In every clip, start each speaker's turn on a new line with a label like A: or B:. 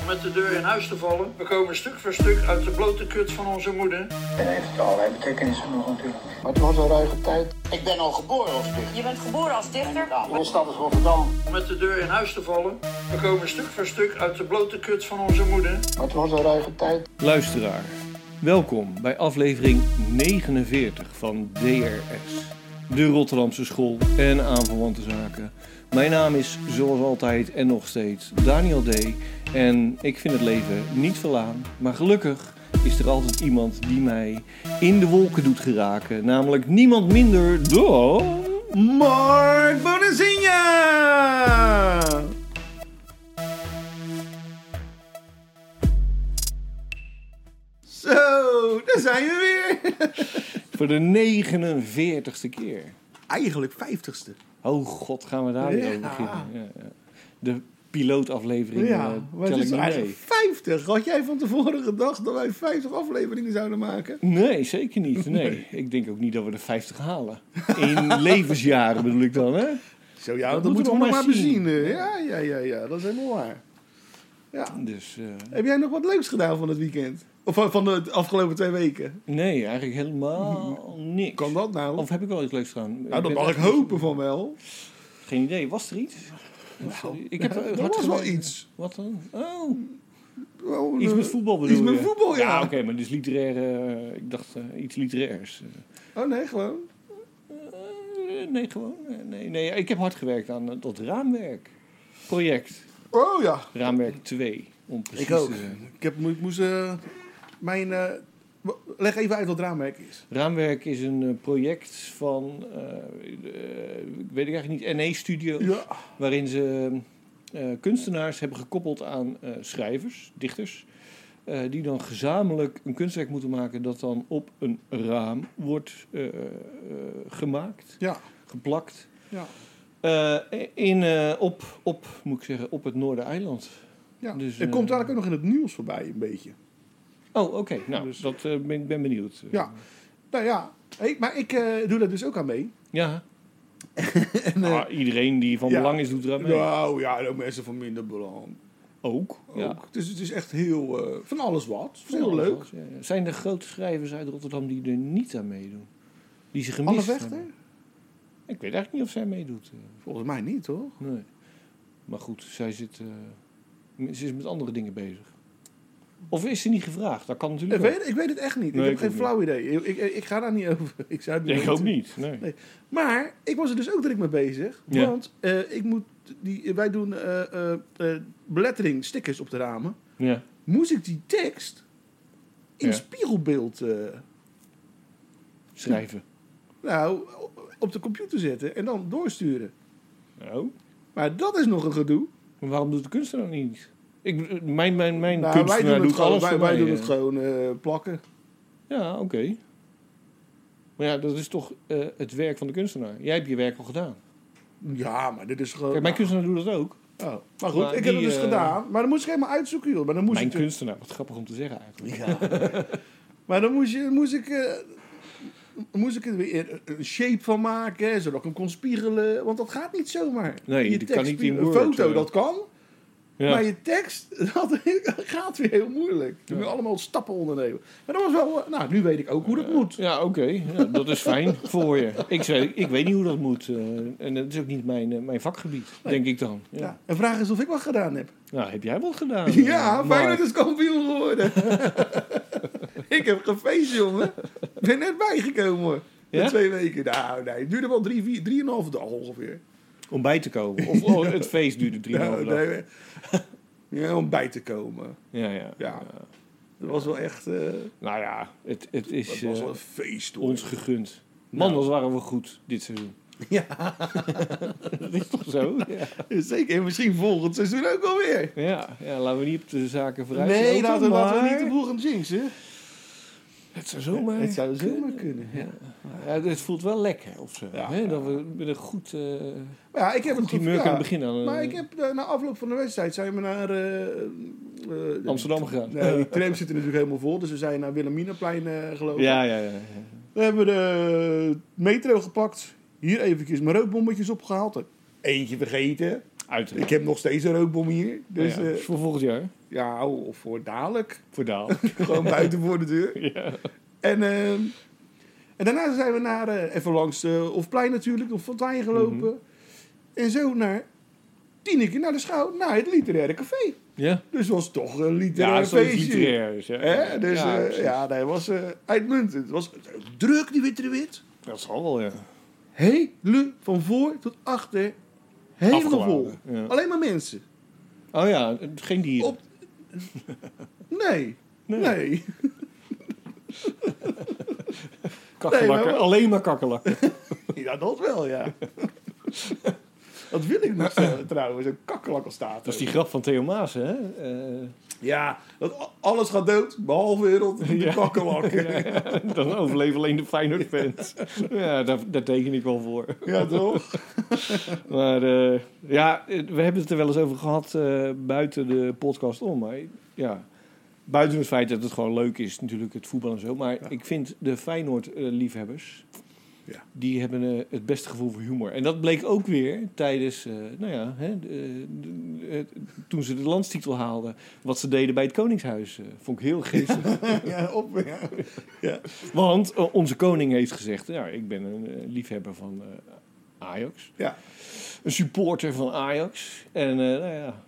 A: om met de deur in huis te vallen. We komen stuk voor stuk uit de blote kut van onze moeder.
B: En heeft allerlei betekenissen nog natuurlijk.
C: Maar het was een ruige tijd.
D: Ik ben al geboren als dichter.
E: Je bent geboren als dichter?
D: Mijn stad is Rotterdam.
A: Om met de deur in huis te vallen. We komen stuk voor stuk uit de blote kut van onze moeder.
C: Maar het was een ruige tijd.
F: Luisteraar, welkom bij aflevering 49 van DRS, de Rotterdamse School en aanverwante zaken. Mijn naam is zoals altijd en nog steeds Daniel D. En ik vind het leven niet verlaan, maar gelukkig is er altijd iemand die mij in de wolken doet geraken. Namelijk niemand minder dan... Mark Bonazinha!
G: Zo, daar zijn we weer.
F: Voor de 49ste keer.
G: Eigenlijk vijftigste.
F: Oh god, gaan we daar weer over beginnen. Ja, ja. De pilootaflevering eh,
G: Ja, maar
F: tel
G: het
F: ik
G: is
F: niet
G: eigenlijk
F: mee.
G: 50. Had jij van tevoren gedacht dat wij 50 afleveringen zouden maken?
F: Nee, zeker niet. Nee. Ik denk ook niet dat we de 50 halen. In levensjaren bedoel ik dan, hè?
G: Zo ja,
F: Dat moeten
G: dat, moeten we
F: we
G: nog maar
F: maar zien.
G: bezien. eh. Ja, ja, ja, ja, dat is helemaal waar. Ja.
F: Dus eh,
G: Heb jij nog wat leuks gedaan van het weekend? Of van, van de afgelopen twee weken?
F: nee, eigenlijk helemaal niks.
G: Kan dat nou?
F: Of heb ik wel iets leuks gedaan?
G: nou, dat
F: ben
G: mag ik
F: echt-
G: hopen van wel.
F: Geen idee. Was er iets? ik heb eh,
G: Nou, er
F: hard
G: was wel
F: gewerkt.
G: iets.
F: Wat dan? Oh,
G: Wel,
F: iets
G: eh,
F: met voetbal bedoel
G: Iets met
F: je?
G: voetbal, ja.
F: oké, maar dit is literair. eh, ik dacht eh, iets literairs.
G: Oh nee, gewoon.
F: Eh, nee, gewoon. eh, Nee, nee, ik heb hard gewerkt aan eh, dat raamwerk. Project.
G: Oh ja.
F: Raamwerk 2. Om precies
G: Ik ook.
F: te zijn.
G: Ik, heb, ik moest eh, mijn... eh, w- leg even uit wat raamwerk is.
F: Raamwerk is een eh, project van, eh, eh, weet ik eigenlijk niet, NE Studio.
G: Ja.
F: Waarin ze eh, kunstenaars hebben gekoppeld aan eh, schrijvers, dichters. eh, die dan gezamenlijk een kunstwerk moeten maken dat dan op een raam wordt eh, eh, gemaakt,
G: Ja.
F: geplakt.
G: Ja.
F: Eh, in, eh, op, op, moet ik zeggen, op het Noordereiland.
G: Ja,
F: Dus,
G: het
F: eh,
G: komt eigenlijk ook nog in het nieuws voorbij, een beetje.
F: Oh, oké. Nou, dat eh, ben ik ben benieuwd.
G: Dus- Ja. Nou ja, hey, maar ik eh, doe daar dus ook aan mee.
F: Ja. Ah, iedereen die van
G: ja.
F: belang is, doet er aan mee.
G: Nou ja, en ook mensen van minder belang.
F: Ook.
G: Ook.
F: Ja.
G: Dus het is echt heel, eh, van alles wat. Het is heel
F: Ja,
G: leuk.
F: dat was, ja. Zijn er grote schrijvers uit Rotterdam die er niet aan meedoen? Die ze gemist
G: Anne Vechter?
F: hebben? Ik weet eigenlijk niet of zij meedoet. eh,
G: Volgens mij niet, hoor.
F: Nee. Maar goed, zij zit, eh, m- ze is met andere dingen bezig. Of is ze niet gevraagd? Dat kan
G: Ik
F: natuurlijk ook.
G: weet, ik weet het echt niet.
F: Nee,
G: ik
F: ik
G: heb geen
F: ook
G: flauw idee. Ik, ik, ik ga daar niet over. Ik zou het niet
F: Ik ook
G: weten.
F: niet. Nee.
G: Nee. Maar ik was er dus ook druk mee bezig.
F: Ja.
G: Want eh, ik moet die, wij doen eh, eh, eh, belettering, stickers op de ramen.
F: Ja.
G: Moest ik die tekst in
F: Ja.
G: spiegelbeeld eh,
F: Schrijven.
G: Nou, op de computer zetten en dan doorsturen.
F: Nou,
G: Oh. Maar dat is nog een gedoe.
F: maar waarom doet de kunstenaar niet? Ik, bedoel, mijn mijn, mijn
G: Nou,
F: kunstenaar
G: wij doen het
F: doet
G: gewoon,
F: alles
G: wij,
F: voor
G: wij
F: mij,
G: doen
F: eh.
G: het gewoon eh, plakken.
F: Ja, oké. Maar ja, dat is toch eh, het werk van de kunstenaar. Jij hebt je werk al gedaan.
G: Ja, maar dit is gewoon.
F: Kijk,
G: Nou.
F: mijn kunstenaar doet dat ook.
G: Oh, maar goed,
F: Maar
G: ik
F: die,
G: heb het dus
F: eh,
G: gedaan. Maar dan moest ik helemaal uitzoeken, joh. Maar dan moest
F: Mijn
G: ik.
F: kunstenaar, wat grappig om te zeggen eigenlijk.
G: Maar dan moest, je, moest ik. eh, moest ik er weer een shape van maken, hè, zodat ik hem kon spiegelen. Want dat gaat niet zomaar.
F: Nee,
G: je
F: dat
G: tekst
F: kan niet in
G: spiegelen. Een
F: Word,
G: foto,
F: eh.
G: dat kan.
F: Ja.
G: Maar je tekst, dat gaat weer heel moeilijk. Toen moet je allemaal stappen ondernemen. Maar dat was wel... eh, Nou, nu weet ik ook hoe dat moet.
F: Ja, oké. Ja, dat is fijn voor je. Ik, zei, ik weet niet hoe dat moet. eh, en dat is ook niet mijn, eh, mijn vakgebied, denk ik dan. Ja.
G: Ja. En vraag is of ik wat gedaan heb.
F: Nou, heb jij wat gedaan? eh,
G: ja,
F: Mark?
G: Feyenoord is kampioen geworden. ik heb gefeest, jongen. Ik ben net bijgekomen, hoor. Na
F: Ja?
G: twee weken. Nou, nee. Het duurde wel drie, vier, drieënhalve dag ongeveer.
F: Om bij te komen. Of oh, het feest duurde drie
G: Nou,
F: maanden. dag.
G: nee. Ja, om bij te komen.
F: Ja, ja.
G: Ja. Dat was wel echt... eh
F: Nou ja, het, het
G: dat
F: is
G: was
F: eh,
G: wel een feest, hoor.
F: ons gegund. Man, wat waren we goed dit seizoen.
G: Ja,
F: Dat is toch zo? Ja,
G: zeker. En misschien volgend seizoen ook wel weer.
F: ja, ja laten we niet op de zaken vooruit.
G: Nee,
F: lopen,
G: laten, we- laten we
F: maar
G: niet te vroeg aan jinxen.
F: Het zou zomaar...
G: Het zou zomaar kunnen. Ja.
F: Ja, het voelt wel lekker of zo.
G: Ja.
F: hè? Dat we met een goed, eh
G: Maar ja, ik heb
F: goed
G: het
F: humeur
G: ja.
F: kunnen beginnen. aan, eh,
G: Maar ik heb eh, na afloop van de wedstrijd zijn we naar eh, eh,
F: Amsterdam gegaan.
G: Nee, die tram zit er natuurlijk helemaal vol, dus we zijn naar Wilhelminaplein eh gelopen.
F: Ja, ja, ja. ja.
G: We hebben de metro gepakt, hier eventjes mijn rookbommetjes opgehaald. Eentje vergeten.
F: Uiteraard.
G: Ik heb nog steeds een rookbom hier. Dus
F: ja,
G: ja,
F: is voor volgend jaar.
G: ja of voor dadelijk.
F: Voor Daal.
G: Gewoon buiten voor de deur.
F: ja.
G: En, ehm, en daarna zijn we naar, eh, even langs de Hofplein natuurlijk, op Fontein gelopen.
F: Mhm.
G: En zo naar Tineke, naar de schouw, naar het literaire café.
F: Ja,
G: Dus het was toch een
F: ja
G: literair
F: dat is wel iets
G: feestje.
F: literairs. Ja.
G: Hè? Dus eh, ja,
F: precies.
G: nee, het was eh, uitmuntend. Het was druk, die witte de wit.
F: Dat zal wel, ja.
G: Hele, van voor tot achter, helemaal vol.
F: Afgeladen, ja.
G: Alleen maar mensen.
F: Oh ja, geen dieren.
G: Op- Nee, nee.
F: Kakkerlakken.
G: Nee, maar-
F: Alleen maar kakkerlakken.
G: Ja, dat wel, ja. dat wil ik nog zo, trouwens, een kakkelakkelstaat.
F: Dat is die grap van Theo Maas, hè? Eh,
G: Ja, dat a- alles gaat dood, behalve wereld, de
F: Ja.
G: kakkelak. Ja.
F: dan overleven alleen de Feyenoord-fans. ja, daar, daar teken ik wel voor.
G: toch?
F: Maar eh, ja, eh, we hebben het er wel eens over gehad eh, buiten de podcast om. Maar ja, buiten het feit dat het gewoon leuk is, natuurlijk het voetbal en zo. Maar ik vind de Feyenoord-liefhebbers,
G: Ja.
F: die hebben eh, het beste gevoel voor humor. En dat bleek ook weer tijdens, eh, nou ja, hè, de- de- de- toen ze de landstitel haalden. Wat ze deden bij het Koningshuis, eh, vond ik heel geestig.
G: Ja, op, ja.
F: Want eh, onze koning heeft gezegd, nou, ik ben een eh, liefhebber van eh, Ajax.
G: Ja.
F: Een supporter van Ajax. En eh, nou ja.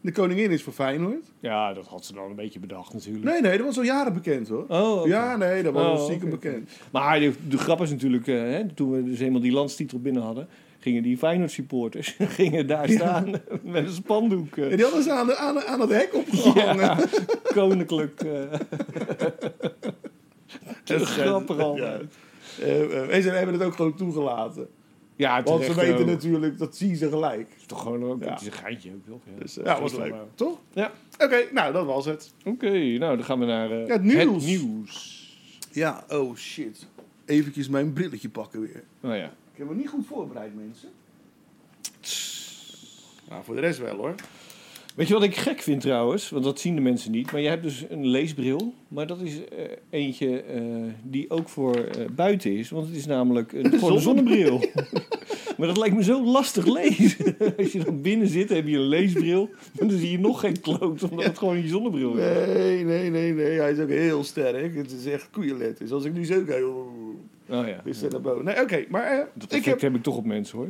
G: De koningin is voor Feyenoord.
F: ja, dat had ze dan een beetje bedacht natuurlijk.
G: Nee, nee, dat was al jaren bekend, hoor.
F: Oh, oké.
G: Ja, nee, dat was
F: Oh,
G: al stiekem
F: oké.
G: bekend.
F: Maar de, de grap is natuurlijk, eh, hè, toen we dus eenmaal die landstitel binnen hadden, gingen die Feyenoord supporters gingen daar staan met een spandoek. eh,
G: En die hadden ze aan, de, aan, aan het hek opgehangen.
F: koninklijk. eh. dat is grappig al.
G: Ja.
F: Ja,
G: Eh, eh, en ze hebben het ook gewoon toegelaten. Want ze
F: terecht
G: weten
F: ook.
G: natuurlijk, dat zien ze gelijk.
F: eh, is toch gewoon ook,
G: Ja.
F: het is een geintje ook, toch? Ja,
G: Dus, eh, ja, was leuk. Toch?
F: Ja.
G: Oké, nou, dat was het.
F: Oké, nou dan gaan we naar eh,
G: Ja, het nieuws.
F: nieuws.
G: Ja, oh shit. Eventjes mijn brilletje pakken weer.
F: Nou ja.
G: Ik heb me niet goed voorbereid, mensen. Nou, voor de rest wel hoor.
F: Weet je wat ik gek vind trouwens? Want dat zien de mensen niet. Maar je hebt dus een leesbril. Maar dat is eh, eentje eh, die ook voor eh, buiten is. Want het is namelijk een, gewoon een zonnebril. maar dat lijkt me zo lastig lezen. Als je dan binnen zit, heb je een leesbril. Maar dan zie je nog geen kloot, omdat het gewoon je zonnebril is.
G: Nee, nee, nee, nee. Hij is ook heel sterk. Het is echt koeienlet. Dus als ik nu zo kijk, oh,
F: Oh ja.
G: is dat naar boven. Nee, oké, maar eh,
F: Dat
G: ik,
F: effect
G: heb,
F: heb ik toch op mensen hoor.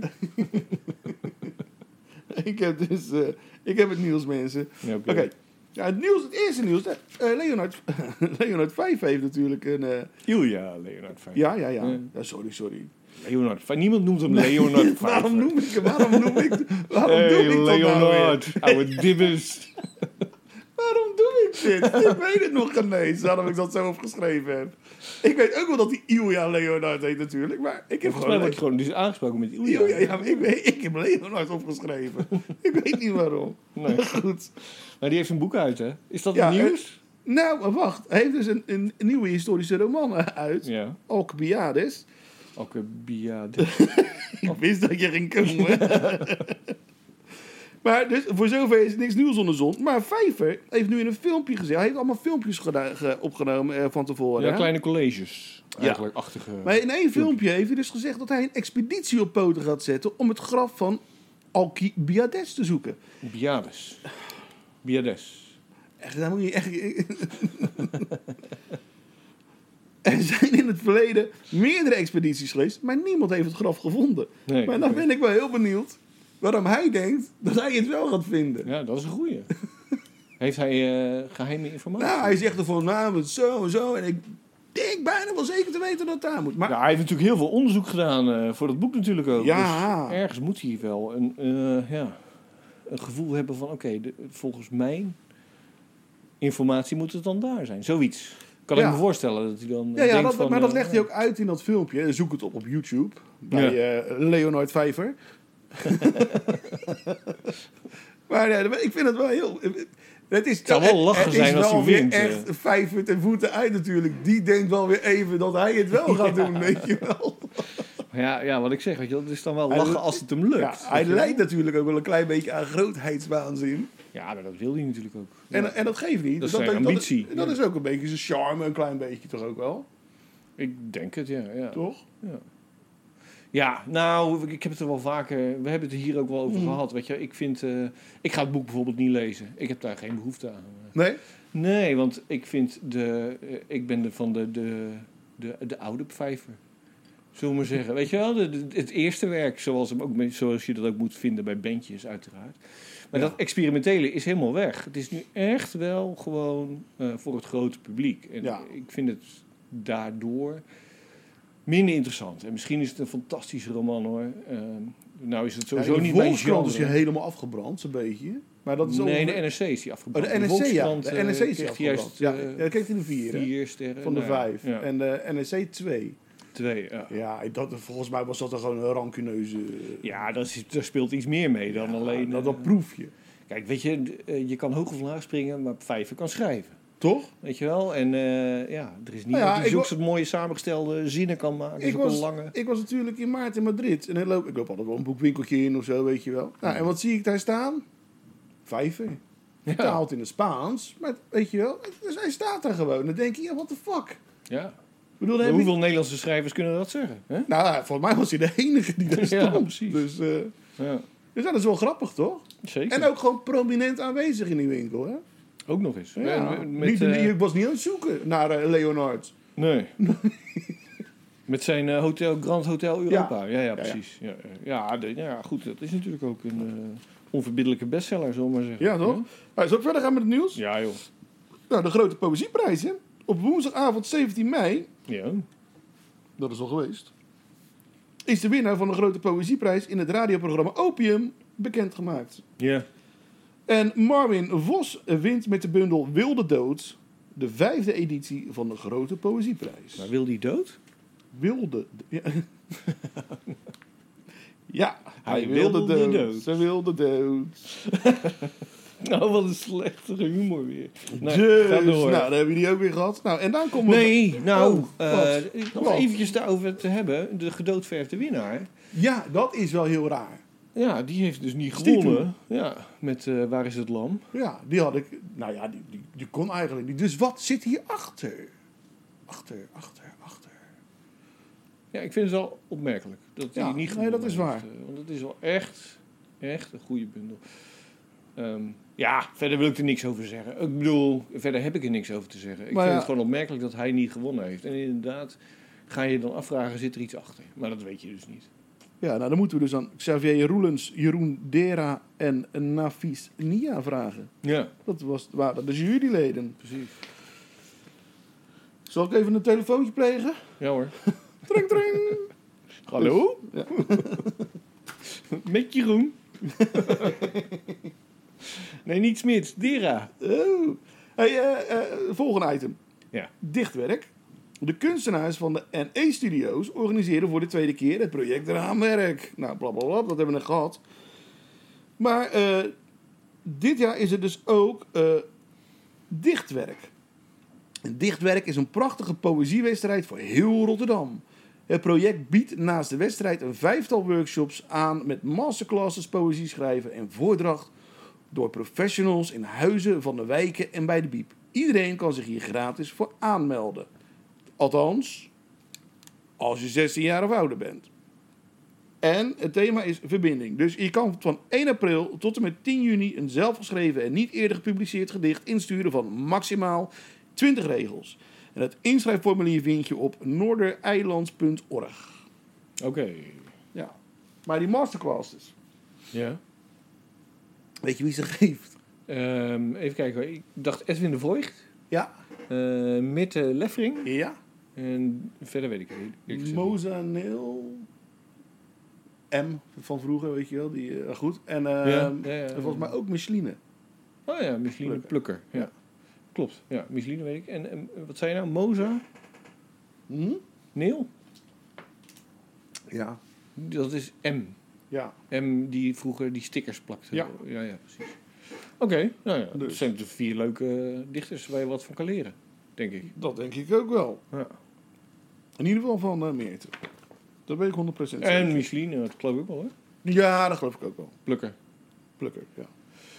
G: ik heb dus, eh, ik heb het nieuws, mensen.
F: Ja,
G: Oké. Ja, het nieuws, het eerste nieuws. eh, eh, Leonard, Leonard 5 heeft natuurlijk een... eh,
F: Ilja Leonard Vijver.
G: ja, ja, ja,
F: Ja.
G: ja. Sorry, sorry.
F: Leonard Vijver. Niemand noemt hem Leonard Vijver.
G: Waarom noem ik hem? Waarom noem ik, waarom
F: Hey,
G: doe ik dat nou weer?
F: Leonard, ouwe dibbes.
G: Waarom doe ik dit? ik weet het nog geen eens waarom ik dat zo opgeschreven heb. Ik weet ook wel dat die Ilja Leonard heet natuurlijk, maar ik
F: Volgens
G: heb
F: mij
G: gewoon...
F: word je gewoon dus aangesproken met Ilja.
G: Ilja, ja, maar ik, weet, ik heb Leonard opgeschreven. ik weet niet waarom.
F: Nee.
G: Goed.
F: Maar die heeft een boek uit, hè? Is dat
G: Ja, eh,
F: het nieuws?
G: Nou, maar wacht. Hij heeft dus een, een nieuwe historische roman eh, uit.
F: Ja.
G: Alcibiades. eh,
F: Oké, Bia. dit-
G: Ik wist dat je ging komen. maar dus, voor zover is niks nieuws onder de zon. Maar Vijver heeft nu in een filmpje gezien. Hij heeft allemaal filmpjes geda- ge- opgenomen eh, van tevoren.
F: Ja,
G: hè?
F: kleine colleges. Eigenlijk achtige.
G: Maar in één filmpje heeft hij dus gezegd dat hij een expeditie op poten gaat zetten om het graf van Alcibiades te zoeken.
F: Biades. Biades.
G: Echt, daar moet je echt... er zijn in het verleden meerdere expedities geweest, maar niemand heeft het graf gevonden.
F: Nee,
G: maar dan
F: oké.
G: ben ik wel heel benieuwd waarom hij denkt dat hij het wel gaat vinden.
F: Ja, dat is een goeie. Heeft hij eh, geheime informatie?
G: Nou, hij zegt ervan, nou, het zo en zo. En ik denk bijna wel zeker te weten dat het daar moet. Maar
F: Ja, hij heeft natuurlijk heel veel onderzoek gedaan eh, voor dat boek natuurlijk ook.
G: Ja.
F: Dus ergens moet hij wel een, eh, ja, een gevoel hebben van... oké, de- volgens mijn informatie moet het dan daar zijn. Zoiets. Kan
G: Ja.
F: ik me voorstellen dat hij dan eh,
G: Ja, ja
F: denkt
G: dat,
F: van,
G: maar dat
F: eh,
G: legt hij ook uit in dat filmpje. Zoek het op op YouTube. Bij eh, Leonard Vijver. maar nee, ik vind het wel heel... Het, is,
F: zou wel lachen
G: is
F: zijn als
G: wel
F: hij
G: weer
F: wint,
G: echt
F: eh.
G: Vijver ten voeten uit natuurlijk. Die denkt wel weer even dat hij het wel gaat doen, weet je wel.
F: Ja, ja, wat ik zeg, weet je, wel, dat is dan wel
G: Hij
F: lachen
G: doet-
F: als het hem lukt.
G: Ja, hij
F: weet je wel.
G: leidt natuurlijk ook wel een klein beetje aan grootheidswaanzin.
F: Ja, maar dat wil hij natuurlijk ook.
G: En,
F: Ja.
G: en dat geeft niet.
F: Dat is zijn ambitie.
G: Dat, is ook een beetje zijn charme, een klein beetje toch ook wel.
F: Ik denk het, ja. Ja,
G: Toch?
F: Ja, nou, ik heb het er wel vaker. We hebben het er hier ook wel
G: Mhm.
F: over gehad. Weet je, ik vind. eh, ik ga het boek bijvoorbeeld niet lezen. Ik heb daar geen behoefte aan.
G: Nee?
F: Nee, want ik vind de. eh, ik ben de, van de, de, de, de oude vijver. Zullen we maar zeggen. Weet je wel, de- de- het eerste werk, zoals, hem ook, zoals je dat ook moet vinden bij bandjes, uiteraard. Maar dat experimentele is helemaal weg. Het is nu echt wel gewoon eh, voor het grote publiek. En
G: Ja.
F: ik vind het daardoor minder interessant. En misschien is het een fantastische roman hoor. Eh, nou is het
G: Ja,
F: sowieso
G: de
F: niet mijn
G: Volkskrant
F: genre.
G: is je helemaal afgebrand, een beetje. Maar dat is
F: nee,
G: ongeveer-
F: de NRC is die afgebrand.
G: Oh, de NRC, ja.
F: Volkskrant,
G: De
F: eh,
G: NRC is
F: kreeg
G: die afgebrand.
F: juist,
G: Ja,
F: eh,
G: ja, dat kreeg hij de vier, hè?
F: Vier sterren.
G: Van de
F: Nou ja,
G: vijf.
F: ja.
G: En eh, de NEC twee.
F: Twee, ja.
G: Ja, dat, volgens mij was dat er gewoon een rancuneuze... eh,
F: Ja, daar, is- daar speelt iets meer mee dan alleen...
G: dat,
F: eh,
G: nou, dat proef je.
F: kijk, weet je, d- eh, je kan hoog of laag springen, maar vijven kan schrijven.
G: Toch?
F: Weet je wel? En eh, ja, er is niemand
G: Nou ja,
F: die
G: ik
F: zulke
G: wa-
F: soort mooie samengestelde zinnen kan maken.
G: Ik
F: zulke
G: was,
F: lange...
G: ik was natuurlijk in maart in Madrid. En dan loop, ik loop altijd wel een boekwinkeltje in of zo, weet je wel. Nou, en wat zie ik daar staan? Vijven. Vertaald in het Spaans. Maar weet je wel, dus hij staat daar gewoon. Dan denk je, ja, what the fuck? Ik
F: Ja.
G: bedoel, dan
F: Maar
G: heb ik-
F: hoeveel Nederlandse schrijvers kunnen dat zeggen? Hè?
G: Nou, volgens mij was hij de enige die daar
F: Ja,
G: stond.
F: precies.
G: Dus, eh,
F: Ja,
G: dus dat is wel grappig, toch?
F: zeker.
G: En ook gewoon prominent aanwezig in die winkel, hè?
F: Ook nog eens.
G: Ja.
F: En met,
G: Niet-
F: eh,
G: Ik was niet aan het zoeken naar eh, Leonard.
F: Nee. Met zijn eh, hotel, Grand Hotel Europa. Ja, ja, precies. Ja, ja. Ja, de- ja, goed, dat is natuurlijk ook een eh, onverbiddelijke bestseller, zullen we maar zeggen.
G: Ja, toch? Nou, zullen we verder gaan met het nieuws?
F: Ja, joh.
G: Nou, de grote poëzieprijs, hè? Op woensdagavond 17 mei,
F: Ja.
G: dat is al geweest, is de winnaar van de grote poëzieprijs in het radioprogramma Opium bekendgemaakt.
F: Ja.
G: En Marwin Vos wint met de bundel Wilde Dood de vijfde editie van de grote poëzieprijs.
F: Maar wil die dood?
G: wilde. Ja, ja hij,
F: Hij
G: wilde,
F: wilde
G: dood.
F: dood.
G: Ze wilde dood.
F: Nou, wat een slechtere humor weer.
G: dus,
F: ga
G: nou,
F: door.
G: dan hebben jullie ook weer gehad. Nou, en dan komen
F: Nee, nou,
G: Oh,
F: eh,
G: wat?
F: nog
G: Wat?
F: eventjes daarover te hebben. De gedoodverfde winnaar,
G: Ja, dat is wel heel raar.
F: ja, die heeft dus niet
G: Stiekem.
F: gewonnen. Ja, met eh, Waar is het lam?
G: Ja, die had ik. Nou ja, die, die, die kon eigenlijk niet. Dus wat zit hier achter? Achter, achter, achter.
F: Ja, ik vind het wel opmerkelijk dat hij
G: Ja,
F: niet
G: nee, dat
F: gewonnen
G: is waar.
F: heeft, eh, want het is wel echt, echt een goede bundel. Ehm, ja, verder wil ik er niks over zeggen. Ik bedoel, verder heb ik er niks over te zeggen. Ik
G: Maar
F: vind
G: ja.
F: het gewoon opmerkelijk dat hij niet gewonnen heeft. En inderdaad, ga je dan afvragen, zit er iets achter? Maar dat weet je dus niet.
G: Ja, nou dan moeten we dus aan Xavier Roelens, Jeroen Dera en Nafis Nia vragen.
F: Ja,
G: Dat was, waren de juryleden.
F: precies.
G: Zal ik even een telefoontje plegen?
F: Ja hoor.
G: Tring, tring.
F: Hallo? Met Jeroen. nee, niet Smits, Dera.
G: Oh. Hey, eh, eh, volgende item.
F: Ja.
G: Dichtwerk. De kunstenaars van de NE-studio's organiseren voor de tweede keer het project Raamwerk. Nou, blablabla, dat hebben we net gehad. Maar eh, dit jaar is het dus ook eh, dichtwerk. En Dichtwerk is een prachtige poëziewedstrijd voor heel Rotterdam. Het project biedt naast de wedstrijd een vijftal workshops aan met masterclasses poëzie schrijven en voordracht door professionals in huizen van de wijken en bij de biep. Iedereen kan zich hier gratis voor aanmelden. Althans, als je 16 jaar of ouder bent. En het thema is verbinding. Dus je kan van 1 april tot en met 10 juni een zelfgeschreven en niet eerder gepubliceerd gedicht insturen van maximaal 20 regels. En het inschrijfformulier vind je op noordereilands.org.
F: Oké.
G: Ja. Maar die masterclasses,
F: Ja.
G: weet je wie ze geeft?
F: Ehm, even kijken hoor. Ik dacht Edwin de Voigt.
G: Ja.
F: eh Mitte Leffering.
G: Ja.
F: En verder weet ik het niet. eerlijk gezegd niet.
G: Mozanil. M van vroeger, weet je wel. Die, eh, goed. En eh,
F: Ja, ja, ja,
G: en volgens
F: ja.
G: mij ook Micheline.
F: Oh ja, Micheline
G: Plukker.
F: Plukker. Ja.
G: Ja.
F: Klopt. Ja, Micheline weet ik. En, en wat zei je nou? Moza?
G: Hm?
F: Neel?
G: Ja.
F: Dat is M.
G: Ja.
F: M die vroeger die stickers plakte.
G: Ja.
F: Ja, ja, precies. Oké. nou ja. Dat
G: Dus.
F: zijn natuurlijk vier leuke eh, dichters waar je wat van kan leren. Denk ik.
G: Dat denk ik ook wel.
F: Ja.
G: In ieder geval van eh Meerte. Dat weet ik 100% zeker.
F: En Micheline, dat geloof ik wel hoor.
G: Ja, dat geloof ik ook wel.
F: Plukker.
G: Plukker, ja.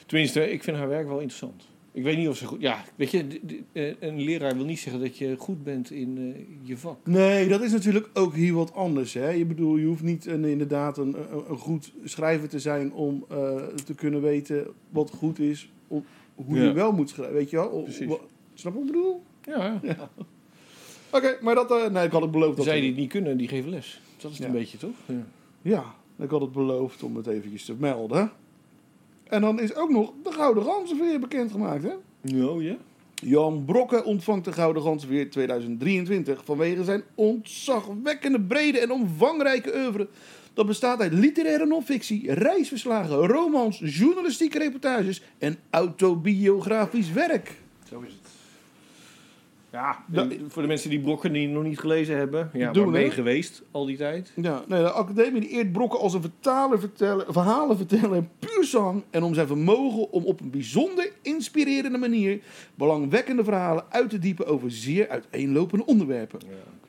F: Tenminste, ik vind haar werk wel interessant. Ik weet niet of ze goed. Ja, weet je, d- d- eh, een leraar wil niet zeggen dat je goed bent in eh, je vak.
G: Nee, dat is natuurlijk ook hier wat anders. Hè? Je bedoel, je hoeft niet een, inderdaad een, een, een goed schrijver te zijn om eh, te kunnen weten wat goed is, om, hoe
F: Ja.
G: je wel moet schrijven. Weet je wel? Of-
F: Precies.
G: wa- snap je wat ik bedoel?
F: Ja, ja.
G: Oké, maar dat, eh, nee, ik had het beloofd. Dat
F: zij die het niet kunnen, die geven les. Dat is het
G: Ja.
F: een beetje toch? Ja.
G: Ja, ik had het beloofd om het eventjes te melden. En dan is ook nog de Gouden Ganzenveer bekendgemaakt, hè?
F: Nou ja.
G: Jan Brokke ontvangt de Gouden Ganzenveer 2023 vanwege zijn ontzagwekkende brede en omvangrijke oeuvre. Dat bestaat uit literaire non-fictie, reisverslagen, romans, journalistieke reportages en autobiografisch werk.
F: Zo is het. Ja,
G: dat-
F: en voor de mensen die Brokken die nog niet gelezen hebben. Ja,
G: Doen
F: waar
G: we.
F: ben je geweest al die tijd?
G: Ja, nee, de academie die eert Brokken als een vertaler, vertellen, verhalen verteller en puur zang. En om zijn vermogen om op een bijzonder inspirerende manier belangwekkende verhalen uit te diepen over zeer uiteenlopende onderwerpen.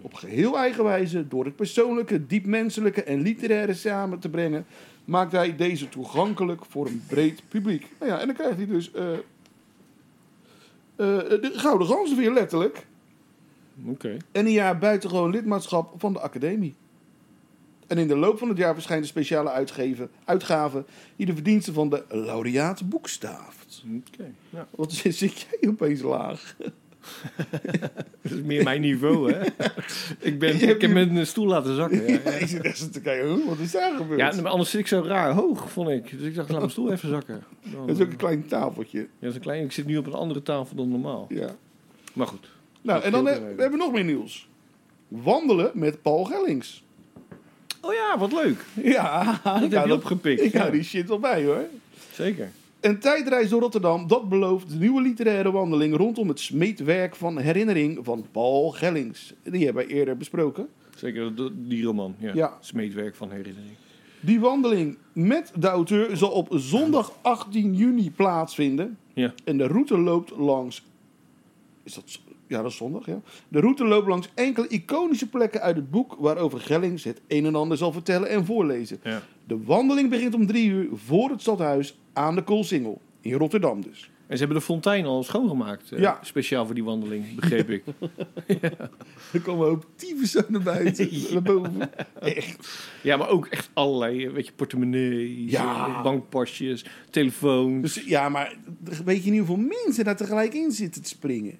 G: Op geheel eigen wijze, door het persoonlijke, diepmenselijke en literaire samen te brengen, maakt hij deze toegankelijk voor een breed publiek. Nou ja, en dan krijgt hij dus eh, eh, de Gouden Ganzen weer letterlijk.
F: Oké.
G: En een jaar buitengewoon lidmaatschap van de academie. En in de loop van het jaar verschijnt een speciale uitgeven, uitgave die de verdiensten van de laureaat boekstaaft.
F: Oké. Ja.
G: Wat zit, zit jij opeens laag?
F: Dat is meer mijn niveau, hè? ik ben,
G: Je hebt
F: ik heb
G: nu-
F: mijn stoel laten zakken. Ja, ja.
G: ik zit echt te kijken, huh, wat is daar gebeurd?
F: Ja, maar anders zit ik zo raar hoog, vond ik. Dus ik dacht, laat mijn stoel even zakken. Dan, eh,
G: Dat is ook een klein tafeltje.
F: ja, dat is een klein, ik zit nu op een andere tafel dan normaal.
G: Ja.
F: Maar goed.
G: Nou,
F: Dat
G: en dan
F: scheelt
G: he-
F: er even.
G: hebben we nog meer nieuws. Wandelen met Paul Gellings.
F: Oh ja, wat leuk.
G: Ja,
F: Dat heb je opgepikt.
G: Ik hou
F: Ja.
G: die shit wel bij hoor.
F: Zeker.
G: Een tijdreis door Rotterdam, dat belooft de nieuwe literaire wandeling rondom het smeedwerk van herinnering van Paul Gellings. Die hebben wij eerder besproken.
F: Zeker dat- die roman. Ja.
G: Ja.
F: Smeedwerk van herinnering.
G: Die wandeling met de auteur zal op zondag 18 juni plaatsvinden.
F: Ja.
G: En de route loopt langs. Is dat. z- Ja, dat is zondag, ja. De route loopt langs enkele iconische plekken uit het boek waarover Gellings het een en ander zal vertellen en voorlezen.
F: ja.
G: De wandeling begint om drie uur voor het stadhuis aan de Koolsingel. In Rotterdam dus.
F: En ze hebben de fontein al schoongemaakt. eh,
G: Ja.
F: Speciaal voor die wandeling, begreep ik.
G: Er komen ook tyfus aan naar buiten. Naar boven.
F: Ja, maar ook echt allerlei, eh, weet je, portemonnees,
G: Ja.
F: eh, bankpasjes, telefoons.
G: Dus ja, maar weet je niet hoeveel mensen daar tegelijk in zitten te springen?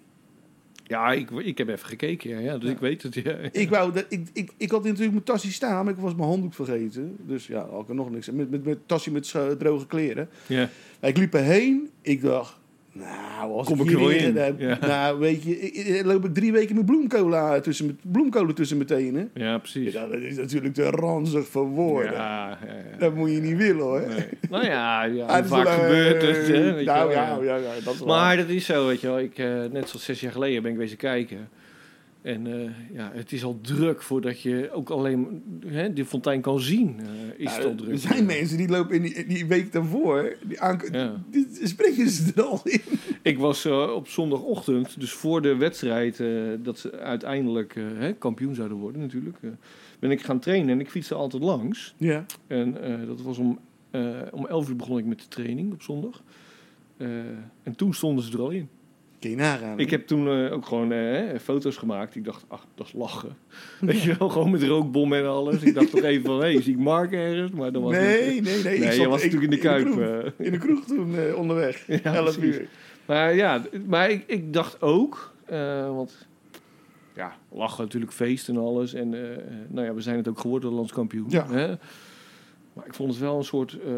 F: Ja, ik, ik heb even gekeken, ja, ja dus ik weet het. Ja.
G: Ik, wou dat, ik, ik, ik had natuurlijk mijn tasje staan, maar ik was mijn handdoek vergeten. Dus ja, had ik er nog niks. aan. Met, met, met tasje met scho- droge kleren.
F: Ja.
G: Maar ik liep erheen. Ik dacht, nou, als
F: Kom ik
G: ik
F: er wel
G: hierin
F: in?
G: heb,
F: Ja.
G: nou, weet je, ik- ik- loop ik drie weken met bloemcola tussen, met bloemkolen tussen mijn tenen.
F: ja, precies.
G: Ja, dat is natuurlijk te ranzig voor woorden.
F: Ja, ja, ja.
G: Dat moet je niet willen, hoor.
F: Nee. Nou ja, ja
G: Ah, dat is
F: vaak
G: wel, eh,
F: gebeurt het. Hè, weet je
G: nou
F: wel, ja.
G: ja, ja, ja, dat is waar.
F: Maar dat is zo, weet je wel. Ik, eh, net zoals zes jaar geleden ben ik wezen kijken. En eh, ja, het is al druk voordat je ook alleen hè, die fontein kan zien. eh, is
G: Ja,
F: het al druk.
G: Er zijn mensen die lopen in die, in die week daarvoor. Die aank-
F: Ja.
G: die springen ze er al in.
F: Ik was eh, op zondagochtend, dus voor de wedstrijd eh, dat ze uiteindelijk eh, hè, kampioen zouden worden natuurlijk, eh, ben ik gaan trainen en ik fietste altijd langs.
G: Ja.
F: En eh, dat was om, eh, om 11 uur begon ik met de training op zondag. Eh, en toen stonden ze er al in.
G: Kun je nagaan.
F: Ik heb toen eh, ook gewoon eh, foto's gemaakt. Ik dacht, ach, dat is lachen. Weet je wel, gewoon met rookbom en alles. Ik dacht toch even van, hé, zie ik Mark ergens? Maar dan was het-
G: nee, nee, nee.
F: Nee,
G: ik
F: je
G: zat-
F: was
G: ik-
F: natuurlijk in de Kuip.
G: kroeg.
F: eh.
G: In de kroeg toen eh, onderweg.
F: Ja,
G: 11
F: precies.
G: uur.
F: Maar ja, maar ik, ik dacht ook, eh, want ja, lachen natuurlijk, feest en alles. En eh, eh, nou ja, we zijn het ook geworden, landskampioen.
G: Ja.
F: Hè? Maar ik vond het wel een soort eh,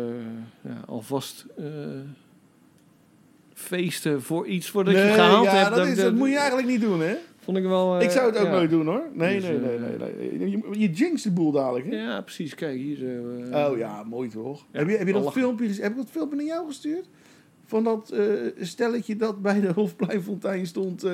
F: ja, alvast eh, feesten voor iets voordat je
G: Nee,
F: gehaald
G: ja,
F: hebt.
G: Dat, is, dat moet je eigenlijk niet doen, hè?
F: Vond ik wel. eh,
G: ik zou het ook
F: ja.
G: nooit doen, hoor. Nee,
F: Dus,
G: nee,
F: eh,
G: nee, nee, nee. Je, je jinxt de boel dadelijk, hè?
F: Ja, precies. Kijk, hier zo. eh,
G: Oh ja, mooi toch?
F: Ja,
G: heb je, heb je dat
F: lachen.
G: filmpje gez- Heb ik dat filmpje naar jou gestuurd? Van dat eh, stelletje dat bij de Hofpleinfontein stond... eh,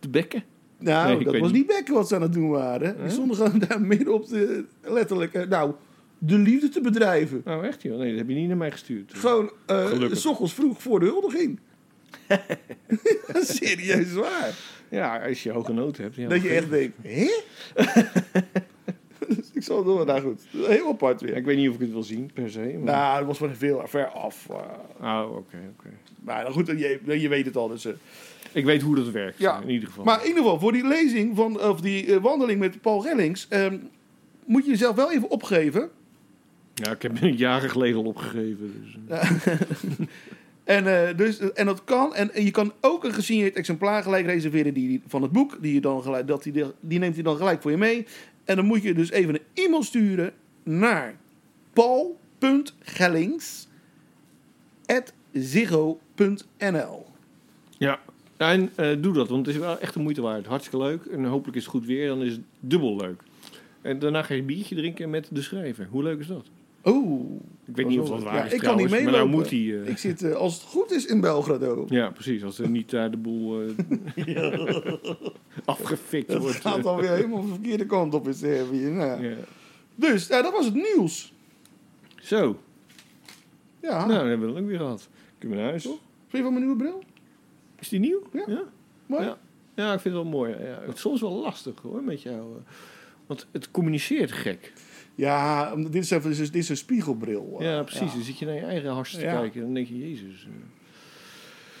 F: De bekken.
G: Nou,
F: Nee, ik
G: dat
F: weet
G: was
F: niet.
G: niet bekken wat ze aan het doen waren.
F: Huh?
G: Die stonden gewoon daar midden op de, letterlijk, eh, nou, de liefde te bedrijven.
F: Nou, echt joh. Nee, dat heb je niet naar mij gestuurd.
G: Gewoon, eh
F: Gelukkig.
G: s ochtends vroeg voor de huldiging. Serieus waar.
F: Ja, als je hoge nood hebt. Ja,
G: dat je echt denkt, hè? Ik zal het doen, maar nou goed. Heel apart weer.
F: Ik weet niet of ik het wil zien, per se. Maar...
G: Nou, dat was van veel ver af. eh,
F: Ah, oké, oké.
G: maar nou goed, je, je weet het al. Dus, eh.
F: Ik weet hoe dat werkt,
G: Ja.
F: in ieder geval.
G: Maar in ieder geval, voor die lezing van, of die eh, wandeling met Paul Rellings, ehm, moet je jezelf wel even opgeven.
F: Ja, ik heb het jaren geleden al opgegeven. Dus. eh.
G: En, eh, dus, en dat kan. En, en je kan ook een gesigneerd exemplaar gelijk reserveren die, die- van het boek. Die, je dan gelijk, dat die, die neemt hij dan gelijk voor je mee. En dan moet je dus even een e-mail sturen naar paul.gellings.ziggo.nl
F: Ja, en eh, doe dat, want het is wel echt de moeite waard. Hartstikke leuk. En hopelijk is het goed weer, dan is het dubbel leuk. En daarna ga je een biertje drinken met de schrijver. Hoe leuk is dat?
G: Oh,
F: Ik weet niet of dat waar
G: Ja,
F: is
G: ik kan
F: trouwens,
G: niet
F: maar nou moet hij...
G: meelopen.
F: eh,
G: ik zit, eh, als het goed is, in Belgrado.
F: Ja, precies. Als er niet daar de boel eh, afgefikt
G: Het
F: wordt. eh,
G: gaat alweer helemaal de verkeerde kant op in Servië. Nou.
F: Ja.
G: Dus, ja, dat was het nieuws.
F: Zo,
G: Ja,
F: nou, dan hebben we dat ook weer gehad. Kunnen we naar huis.
G: vind je van mijn nieuwe bril?
F: Is die nieuw?
G: Ja.
F: ja?
G: Mooi.
F: Ja. Ja, ik vind het wel mooi. Ja, het is soms wel lastig hoor, met jou. eh, Want het communiceert gek.
G: Ja, omdat dit is, even, dit is, dit is een spiegelbril. eh,
F: Ja, precies. Dan zit je naar je eigen hars te
G: Ja.
F: kijken. En dan denk je, jezus. eh,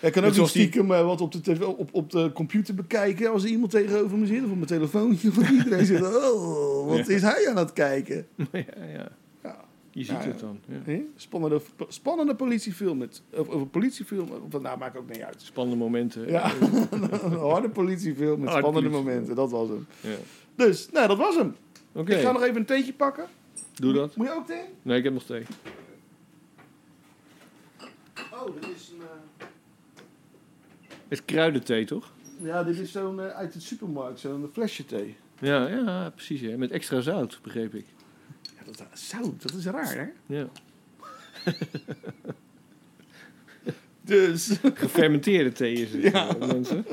G: Ik kan ook
F: Net
G: niet
F: zoals die-
G: stiekem eh, wat op de, tv op, op de computer bekijken als er iemand tegenover me zit. Of op mijn telefoontje. Of iedereen zit, oh, wat is hij aan het kijken?
F: eh." ja, ja.
G: Ja.
F: Je ziet
G: Ja,
F: het dan. Ja.
G: Hè? Spannende, spannende politiefilm. Met, of, of een politiefilm. Of, nou, maakt ook niet uit.
F: Spannende momenten.
G: Ja, een harde politiefilm met
F: Harde
G: spannende
F: politiefilm.
G: momenten. Dat was hem.
F: Ja.
G: Dus, nou, dat was hem.
F: Oké,
G: Ik ga nog even een theetje pakken.
F: doe dat.
G: Moet je ook thee?
F: Nee, ik heb nog twee.
G: Oh, dit is een...
F: Het is kruidenthee, toch?
G: Ja, dit is zo'n eh, uit de supermarkt, zo'n flesje thee.
F: Ja, ja precies. Ja. Met extra zout, begreep ik.
G: Ja, dat is zout, dat is raar, hè?
F: Ja.
G: Dus.
F: Gefermenteerde thee is het, eh, mensen.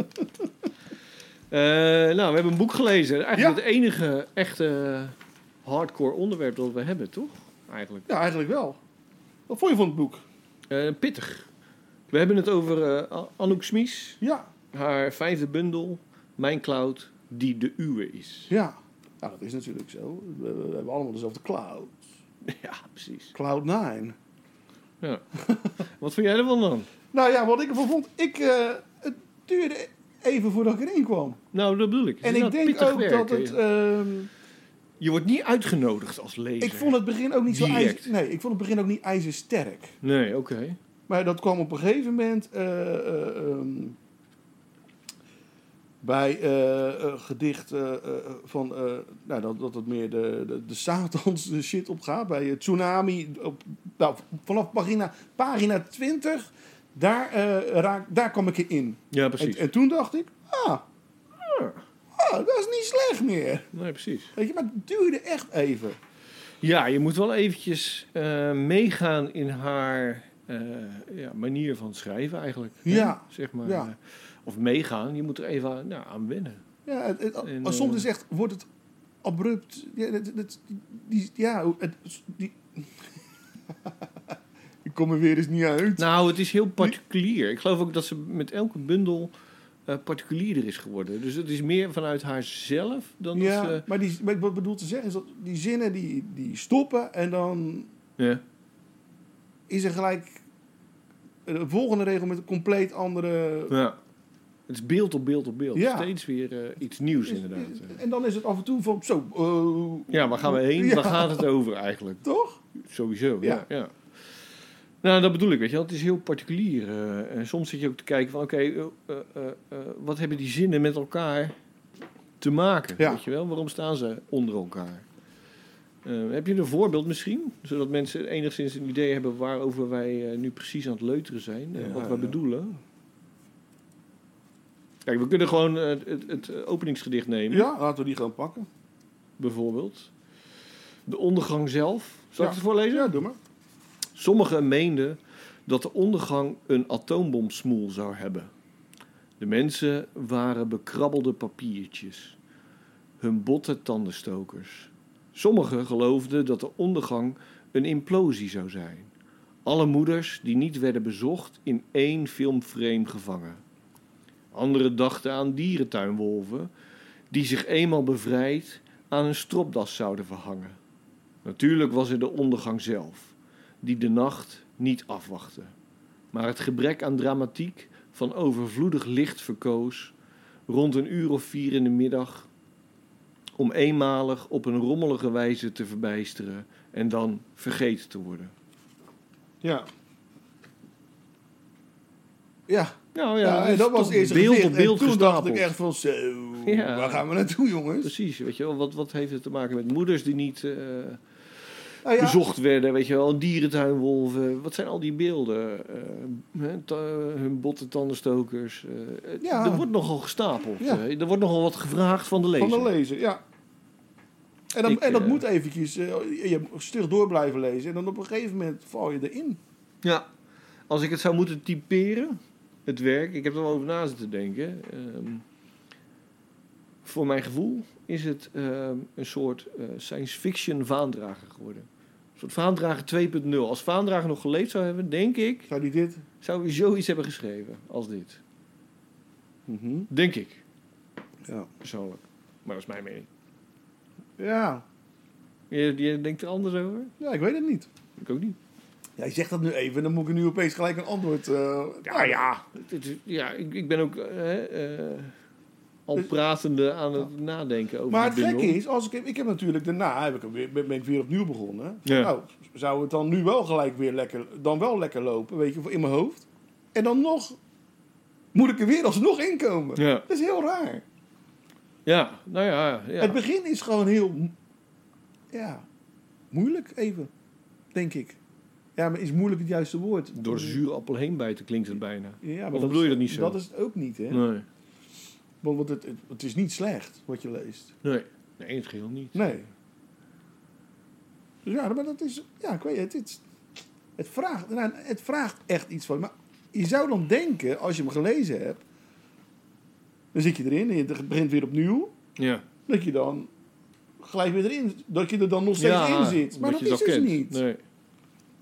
F: Eh, nou, we hebben een boek gelezen. Eigenlijk
G: Ja.
F: het enige echte hardcore onderwerp dat we hebben, toch? Eigenlijk.
G: Ja, eigenlijk wel. Wat vond je van het boek?
F: Eh, pittig. We hebben het over eh, A- Anouk Smies,
G: Ja.
F: haar vijfde bundel, Mijn Cloud, die de uwe is.
G: Ja. Nou, dat is natuurlijk zo. We, we hebben allemaal dezelfde cloud.
F: Ja, precies.
G: Cloud 9.
F: Wat vind jij ervan dan?
G: Nou ja, wat ik ervan vond, ik, eh, het duurde even voordat ik erin kwam.
F: Nou, dat bedoel ik. Het
G: En
F: is
G: ik
F: inderdaad
G: denk
F: pittig
G: ook
F: werk,
G: dat het...
F: hè.
G: ehm,
F: Je wordt niet uitgenodigd als lezer.
G: ik vond het begin ook niet zo
F: Direct.
G: ijzer, Nee, ik vond het begin ook niet ijzersterk.
F: Nee, oké.
G: Maar dat kwam op een gegeven moment eh, eh, ehm, bij eh, eh, gedicht eh, eh, van eh, nou, dat, dat het meer de, de, de Satans shit opgaat. Bij eh, tsunami, op, nou, vanaf pagina, pagina 20, daar, eh, raak, daar kwam ik in.
F: Ja,
G: En,
F: precies.
G: en toen dacht ik, ah, ah, dat is niet slecht meer.
F: Nee, precies.
G: Weet je, maar het duurde echt even.
F: Ja, je moet wel eventjes eh, meegaan in haar eh, ja, manier van schrijven eigenlijk. hè?
G: Ja,
F: Zeg maar. eh,
G: ja.
F: Of meegaan, je moet er even aan, nou, aan wennen.
G: Ja, het, het-
F: En,
G: maar soms
F: eh,
G: is echt, wordt het abrupt. Ja, het, het- die, ja, het, die... Ik kom er weer eens niet uit.
F: Nou, het is heel particulier. Ik geloof ook dat ze met elke bundel eh, particulierder is geworden. Dus het is meer vanuit haarzelf dan eh,
G: ja,
F: dat ze...
G: maar, die, maar wat ik bedoel te zeggen is dat die zinnen die, die stoppen en dan
F: Ja,
G: is er gelijk de volgende regel met een compleet andere...
F: ja. Het is beeld op beeld op beeld.
G: Ja.
F: Steeds weer eh, iets nieuws
G: Is-
F: inderdaad.
G: is- en dan is het af en toe van zo... eh,
F: Ja, waar gaan we heen?
G: Ja.
F: Waar gaat het over eigenlijk?
G: Toch?
F: Sowieso, ja.
G: Ja.
F: ja. Nou, dat bedoel ik, weet je wel. Het is heel particulier. eh, en soms zit je ook te kijken van, oké, eh, eh, eh, eh, wat hebben die zinnen met elkaar te maken?
G: Ja.
F: Weet je wel, waarom staan ze onder elkaar? Eh, heb je een voorbeeld misschien? Zodat mensen enigszins een idee hebben waarover wij eh, nu precies aan het leuteren zijn. en
G: Ja,
F: wat we
G: ja.
F: bedoelen. Kijk, we kunnen gewoon eh, het, het openingsgedicht nemen
G: Ja, laten we die gewoon pakken.
F: bijvoorbeeld. De ondergang zelf. Zal ik
G: Ja.
F: het voorlezen?
G: Ja, doe maar.
F: Sommigen meenden dat de ondergang een atoombomsmoel zou hebben. De mensen waren bekrabbelde papiertjes, hun botte tandenstokers. Sommigen geloofden dat de ondergang een implosie zou zijn. Alle moeders die niet werden bezocht in één filmframe gevangen. Anderen dachten aan dierentuinwolven die zich eenmaal bevrijd aan een stropdas zouden verhangen. Natuurlijk was er de ondergang zelf, die de nacht niet afwachtte. Maar het gebrek aan dramatiek van overvloedig licht verkoos, rond een uur of vier in de middag, om eenmalig op een rommelige wijze te verbijsteren en dan vergeten te worden.
G: Ja. Ja,
F: Nou
G: ja, en dat was
F: toch
G: eerst
F: beeld
G: gezicht.
F: op beeld
G: en toen
F: gestapeld.
G: dacht ik echt van, zo,
F: Ja. Dus
G: waar gaan we naartoe, jongens?
F: Precies, weet je wel, wat, wat heeft het te maken met moeders die niet eh,
G: Nou ja,
F: bezocht werden, weet je wel, een dierentuinwolf, eh, wat zijn al die beelden? Eh, hè, ta- hun botten tandenstokers. eh, het-
G: Ja.
F: Er wordt nogal gestapeld,
G: Ja.
F: eh, er wordt nogal wat gevraagd van de lezer.
G: van de lezer, ja. En dat,
F: Ik,
G: en dat
F: eh,
G: moet eventjes, eh, je moet stug door blijven lezen. En dan op een gegeven moment val je erin.
F: Ja, als ik het zou moeten typeren, het werk, ik heb er wel over na zitten denken. ehm, voor mijn gevoel is het ehm, een soort eh, science fiction vaandrager geworden. Een soort vaandrager 2.0. Als vaandrager nog geleefd zou hebben, denk ik,
G: Zou die dit?
F: zou hij zoiets hebben geschreven als dit. Denk ik,
G: ja.
F: persoonlijk. Maar dat is mijn mening.
G: Ja.
F: Je, je denkt er anders over?
G: ja, ik weet het niet.
F: Ik ook niet.
G: Jij zegt dat nu even, dan moet ik nu opeens gelijk een antwoord... eh
F: Ja, ja. Het- het- ja ik, ik ben ook eh, eh, al pratende aan het nadenken over
G: Dus- Maar het
F: die bundel.
G: gekke is, als ik, ik heb natuurlijk daarna heb ik hem weer, ben, ben ik weer opnieuw begonnen.
F: Ja.
G: Nou, zou het dan nu wel gelijk weer lekker, dan wel lekker lopen, weet je, in mijn hoofd. En dan nog moet ik er weer alsnog in komen.
F: Ja.
G: Dat is heel raar.
F: Ja, nou ja. ja.
G: Het begin is gewoon heel, m- ja, moeilijk even, denk ik. Ja, maar is moeilijk het juiste woord?
F: Door de zure appel heen bijten klinkt het bijna.
G: Ja, maar
F: Of bedoel je dat niet zo?
G: Dat is het ook niet, hè?
F: Nee.
G: Want want het, het, het is niet slecht wat je leest.
F: Nee, nee in het geheel niet.
G: Nee. Dus ja, maar dat is... Ja, ik weet het. Het, het, vraagt, nou, het vraagt echt iets van... je. Maar je zou dan denken, als je hem gelezen hebt... Dan zit je erin en je begint weer opnieuw.
F: Ja.
G: Dat je dan gelijk weer erin... Dat je er dan nog steeds in zit. Maar dat
F: omdat je
G: is dus
F: kent.
G: niet.
F: Nee.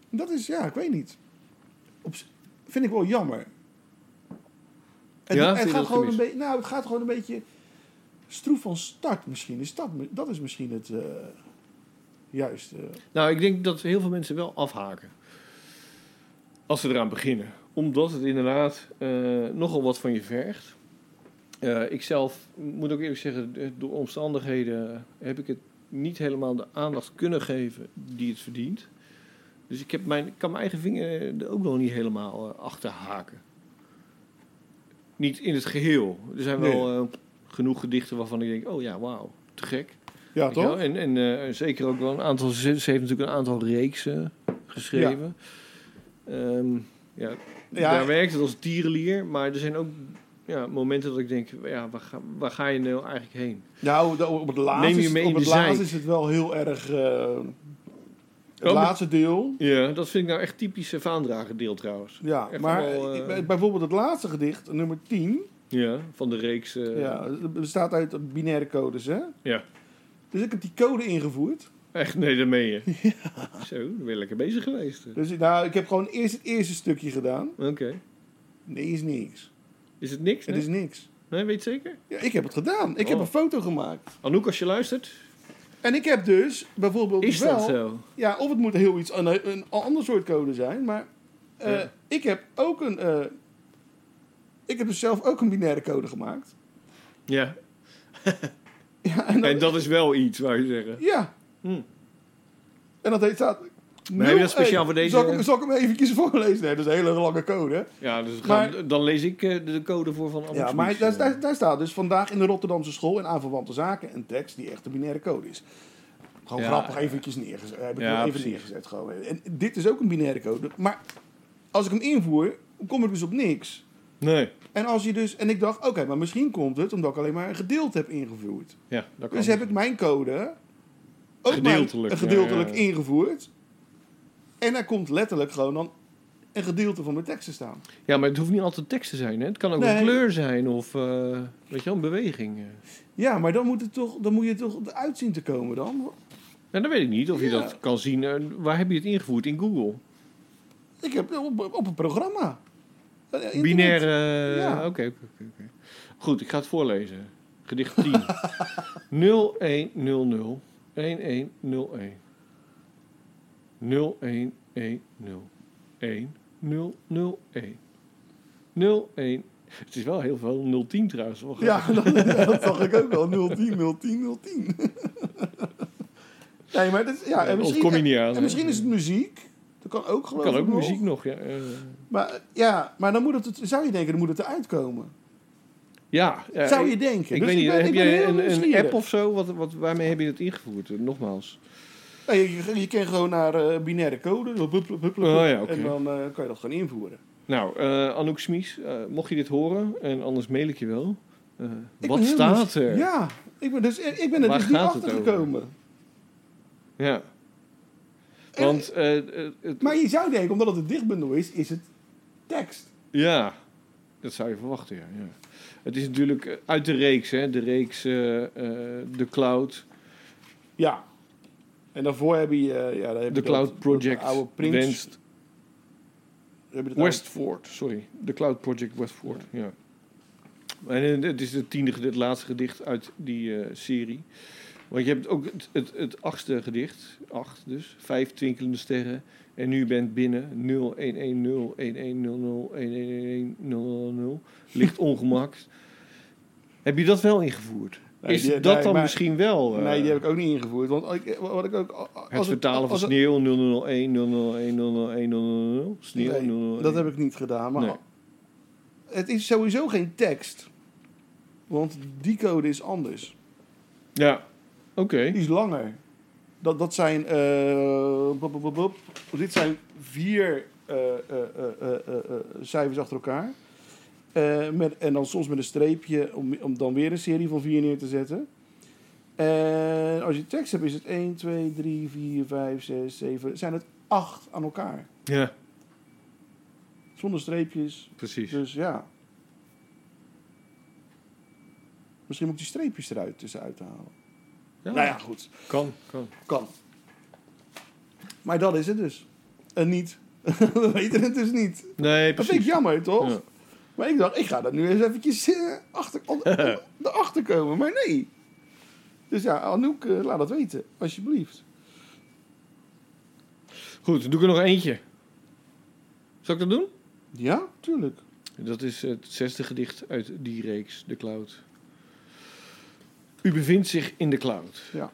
G: Dat is... Ja, ik weet niet. Op, z- vind ik wel jammer. Het,
F: Ja, vind
G: het,
F: je
G: gaat
F: dat
G: gewoon een
F: gemist?
G: beetje, nou, het gaat gewoon een beetje stroef van start misschien. Is dat, dat is misschien het eh juiste...
F: Nou, ik denk dat heel veel mensen wel afhaken. Als ze eraan beginnen. Omdat het inderdaad eh, nogal wat van je vergt. Eh ik zelf moet ook eerlijk zeggen, eh, door omstandigheden heb ik het niet helemaal de aandacht kunnen geven die het verdient. Dus ik, heb mijn, ik kan mijn eigen vinger er ook nog niet helemaal eh, achter haken. Niet in het geheel. Er zijn wel eh, genoeg gedichten waarvan ik denk, oh ja, wauw, te gek.
G: Ja,
F: Weet je wel? En, en eh, zeker ook wel een aantal. Ze, ze heeft natuurlijk een aantal reeksen geschreven. Ehm, Ja.
G: Ja.
F: Daar werkt het als dierenlier, maar er zijn ook ja, momenten dat ik denk: ja, waar, ga, waar ga je nou eigenlijk heen?
G: Nou, da- op het laatste,
F: Neem je
G: is-
F: mee
G: op
F: in
G: het
F: de
G: laatste
F: zeik. Oh,
G: is het wel heel erg. eh, het
F: maar-
G: laatste deel.
F: Ja, dat vind ik nou echt typisch eh, vaandragendeel trouwens.
G: Ja,
F: Echt
G: maar
F: wel,
G: eh,
F: eh,
G: bij- bijvoorbeeld het laatste gedicht, nummer 10.
F: Ja, van de reeks. eh,
G: ja, het bestaat uit binaire codes, hè?
F: ja.
G: Dus ik heb die code ingevoerd.
F: Echt, nee, daar meen je. Zo, dan ben je lekker bezig geweest. Oké.
G: Dus ik- nou, ik heb gewoon eerst het eerste stukje gedaan. Nee, is niks.
F: Is het niks?
G: Het
F: Nee?
G: is niks.
F: nee, weet je het zeker?
G: Ja, ik heb het gedaan. Ik heb
F: Oh.
G: een foto gemaakt.
F: Anouk, als je luistert,
G: En ik heb dus bijvoorbeeld
F: is
G: wel...
F: dat zo?
G: Ja, of het moet heel iets een, een ander soort code zijn, maar eh,
F: Ja.
G: ik heb ook een. eh, ik heb dus zelf ook een binaire code gemaakt.
F: Ja.
G: Ja, en Nou, dat,
F: En dat is wel iets, wou je zeggen.
G: ja.
F: Hm.
G: En dat heet staat.
F: Maar heb je dat speciaal voor deze- eh,
G: Zal ik, hem- zal ik hem eventjes voorlezen? Nee, dat is een hele lange code. hè?
F: Ja, dus
G: Maar-
F: gaan- dan lees ik eh, de code voor van Amber
G: Ja, maar
F: Smith,
G: daar,
F: eh.
G: daar, daar staat dus vandaag in de Rotterdamse school en aanverwante zaken een tekst die echt een binaire code is. Gewoon
F: Ja.
G: grappig eventjes neergezet. Heb ik
F: Ja,
G: hem even
F: precies.
G: neergezet gewoon. En dit is ook een binaire code. Maar als ik hem invoer, kom ik dus op niks.
F: Nee.
G: En, als je dus, en ik dacht, oké, maar misschien komt het omdat ik alleen maar een gedeelte heb ingevoerd.
F: Ja, dat kan.
G: Dus heb ik mijn code ook
F: Gedeeltelijk,
G: maar gedeeltelijk
F: ja, ja, ja.
G: ingevoerd. En daar komt letterlijk gewoon dan een gedeelte van mijn tekst te staan.
F: Ja, maar het hoeft niet altijd tekst te zijn. Hè? Het kan ook
G: Nee.
F: een kleur zijn of eh, weet je wel, een beweging. eh.
G: Ja, maar dan moet, het toch, dan moet je toch eruit zien te komen dan.
F: Ja, dan weet ik niet of je
G: Ja.
F: dat kan zien. eh, waar heb je het ingevoerd? In Google?
G: Ik heb op, op een programma. Eh, internet.
F: Binair. eh,
G: Ja.
F: Oké, oké, oké, oké. Goed, ik ga het voorlezen. Gedicht 10. 0100 1101. 01101001. 01. Het is wel heel veel 010 trouwens. Wel grappig.
G: Ja, dat, dat zag ik ook wel. 010, 010, 010. nee, maar dat, is- ja,
F: Ja,
G: en misschien,
F: ontkom je niet aan,
G: en
F: hè?
G: misschien is het muziek. Dat kan ook geloof
F: kan
G: ik
F: ook
G: nog.
F: muziek nog. Ja, eh.
G: Maar, eh, ja, maar dan moet het, het- zou je denken, dan moet het eruit komen.
F: ja, ja,
G: zou
F: ik-
G: je denken.
F: Ik
G: Dus
F: weet niet,
G: ben-
F: heb
G: ben
F: jij
G: heel
F: een, een
G: nieuwsgierig.
F: app of zo? Wat, wat, waarmee heb je het ingevoerd? Eh, Nogmaals.
G: Nee, je, je kan gewoon naar eh, binaire code. hup, hup, hup, hup, hup,
F: Oh, ja, oké.
G: En dan eh, kan je dat gaan invoeren.
F: Nou, eh Anouk Smies, eh, mocht je dit horen, en anders mail ik je wel. eh,
G: Ik
F: wat
G: ben heel
F: staat
G: nieuws-
F: er?
G: Ja, ik ben, dus, ik ben er
F: Waar
G: dus niet
F: gaat het
G: achter gekomen.
F: Ja.
G: En-
F: Want, eh, eh, het,
G: Maar je zou denken, omdat het een dichtbundel is, is het tekst.
F: ja, dat zou je verwachten, ja. ja. Het is natuurlijk eh, uit de reeks, hè. De reeks eh, eh, De Cloud,
G: Ja. En daarvoor heb je... eh, ja, dan
F: The
G: heb je dat-
F: Cloud
G: dat
F: Project
G: oude prins.
F: Wenst,
G: heb je dat
F: Westford, sorry. The Cloud Project Westford, ja. En eh, het is het tiende gedicht, het laatste gedicht uit die eh, serie. Want je hebt ook het, het, het achtste gedicht, acht dus, vijf twinkelende sterren. En nu bent binnen 0-1-1-0-1-1-0-0-1-1-1-0-0-0. Licht ongemak. Heb je dat wel ingevoerd?
G: Nee,
F: Is
G: die-
F: dat
G: nee,
F: dan
G: maar-
F: misschien wel eh,
G: oude- Nee, die heb ik ook niet ingevoerd. Want ik, eh, wat ik ook... als
F: het vertalen van
G: als
F: sneeuw 0001 0001 0001 0001 sneeuw
G: Nee,
F: 001.
G: Dat heb ik niet gedaan, maar...
F: Nee.
G: Het is sowieso geen tekst. Want die code is anders.
F: Ja, oké.
G: Die is langer. Dat, dat zijn. eh, bop, bop, bop, bop. Dit zijn vier eh, eh, eh, eh, eh, eh, cijfers achter elkaar. Eh, met, en dan soms met een streepje om, om dan weer een serie van vier neer te zetten. En als je tekst hebt, is het 1, 2, 3, 4, 5, 6, 7. Zijn het acht aan elkaar?
F: Ja,
G: Zonder streepjes.
F: precies.
G: Dus ja. Misschien moet ik die streepjes eruit tussenuit halen.
F: Ja,
G: Nou ja, goed.
F: Kan, kan.
G: Kan. Maar dat is het dus. En niet. We weten het dus niet.
F: Nee,
G: Dat vind ik
F: precies.
G: jammer, toch?
F: Ja.
G: Maar ik dacht, ik ga dat nu eens eventjes eh, achter, on- on- erachter komen. Maar nee. Dus ja, Anouk, eh, laat dat weten. Alsjeblieft.
F: Goed, doe ik er nog eentje. Zal ik dat doen?
G: Ja, tuurlijk.
F: Dat is het zesde gedicht uit die reeks, De Cloud. U bevindt zich in de cloud.
G: Ja.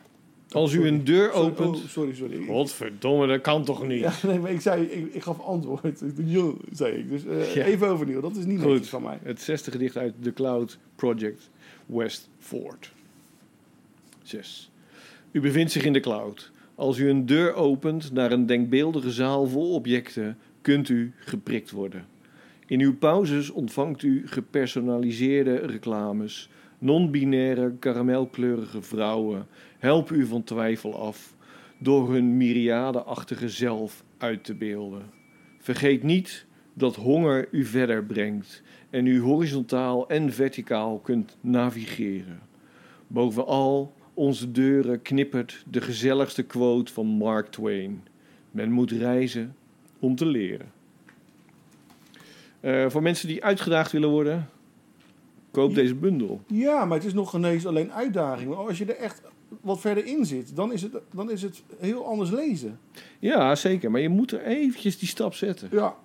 F: Als u een deur
G: Sorry, oh,
F: opent...
G: sorry, sorry. Ik-
F: Godverdomme, dat kan toch niet?
G: Ja, nee, maar ik, zei, ik, ik gaf antwoord. Ik dacht, joh, zei ik. Dus eh,
F: Ja.
G: even overnieuw. Dat is niet
F: Goed.
G: netjes van mij.
F: Het zesde gedicht uit The Cloud Project Westford. 6. U bevindt zich in de cloud. Als u een deur opent naar een denkbeeldige zaal vol objecten, kunt u geprikt worden. In uw pauzes ontvangt u gepersonaliseerde reclames, non-binaire karamelkleurige vrouwen helpen u van twijfel af door hun myriadeachtige zelf uit te beelden. Vergeet niet dat honger u verder brengt en u horizontaal en verticaal kunt navigeren. Bovenal onze deuren knippert de gezelligste quote van Mark Twain: Men moet reizen om te leren. Eh, voor mensen die uitgedaagd willen worden, koop deze bundel.
G: Ja, maar het is nog geen eens alleen uitdaging. Maar als je er echt wat verder in zit, dan is het, dan is het heel anders lezen.
F: Ja, zeker, maar je moet er eventjes die stap zetten.
G: Ja.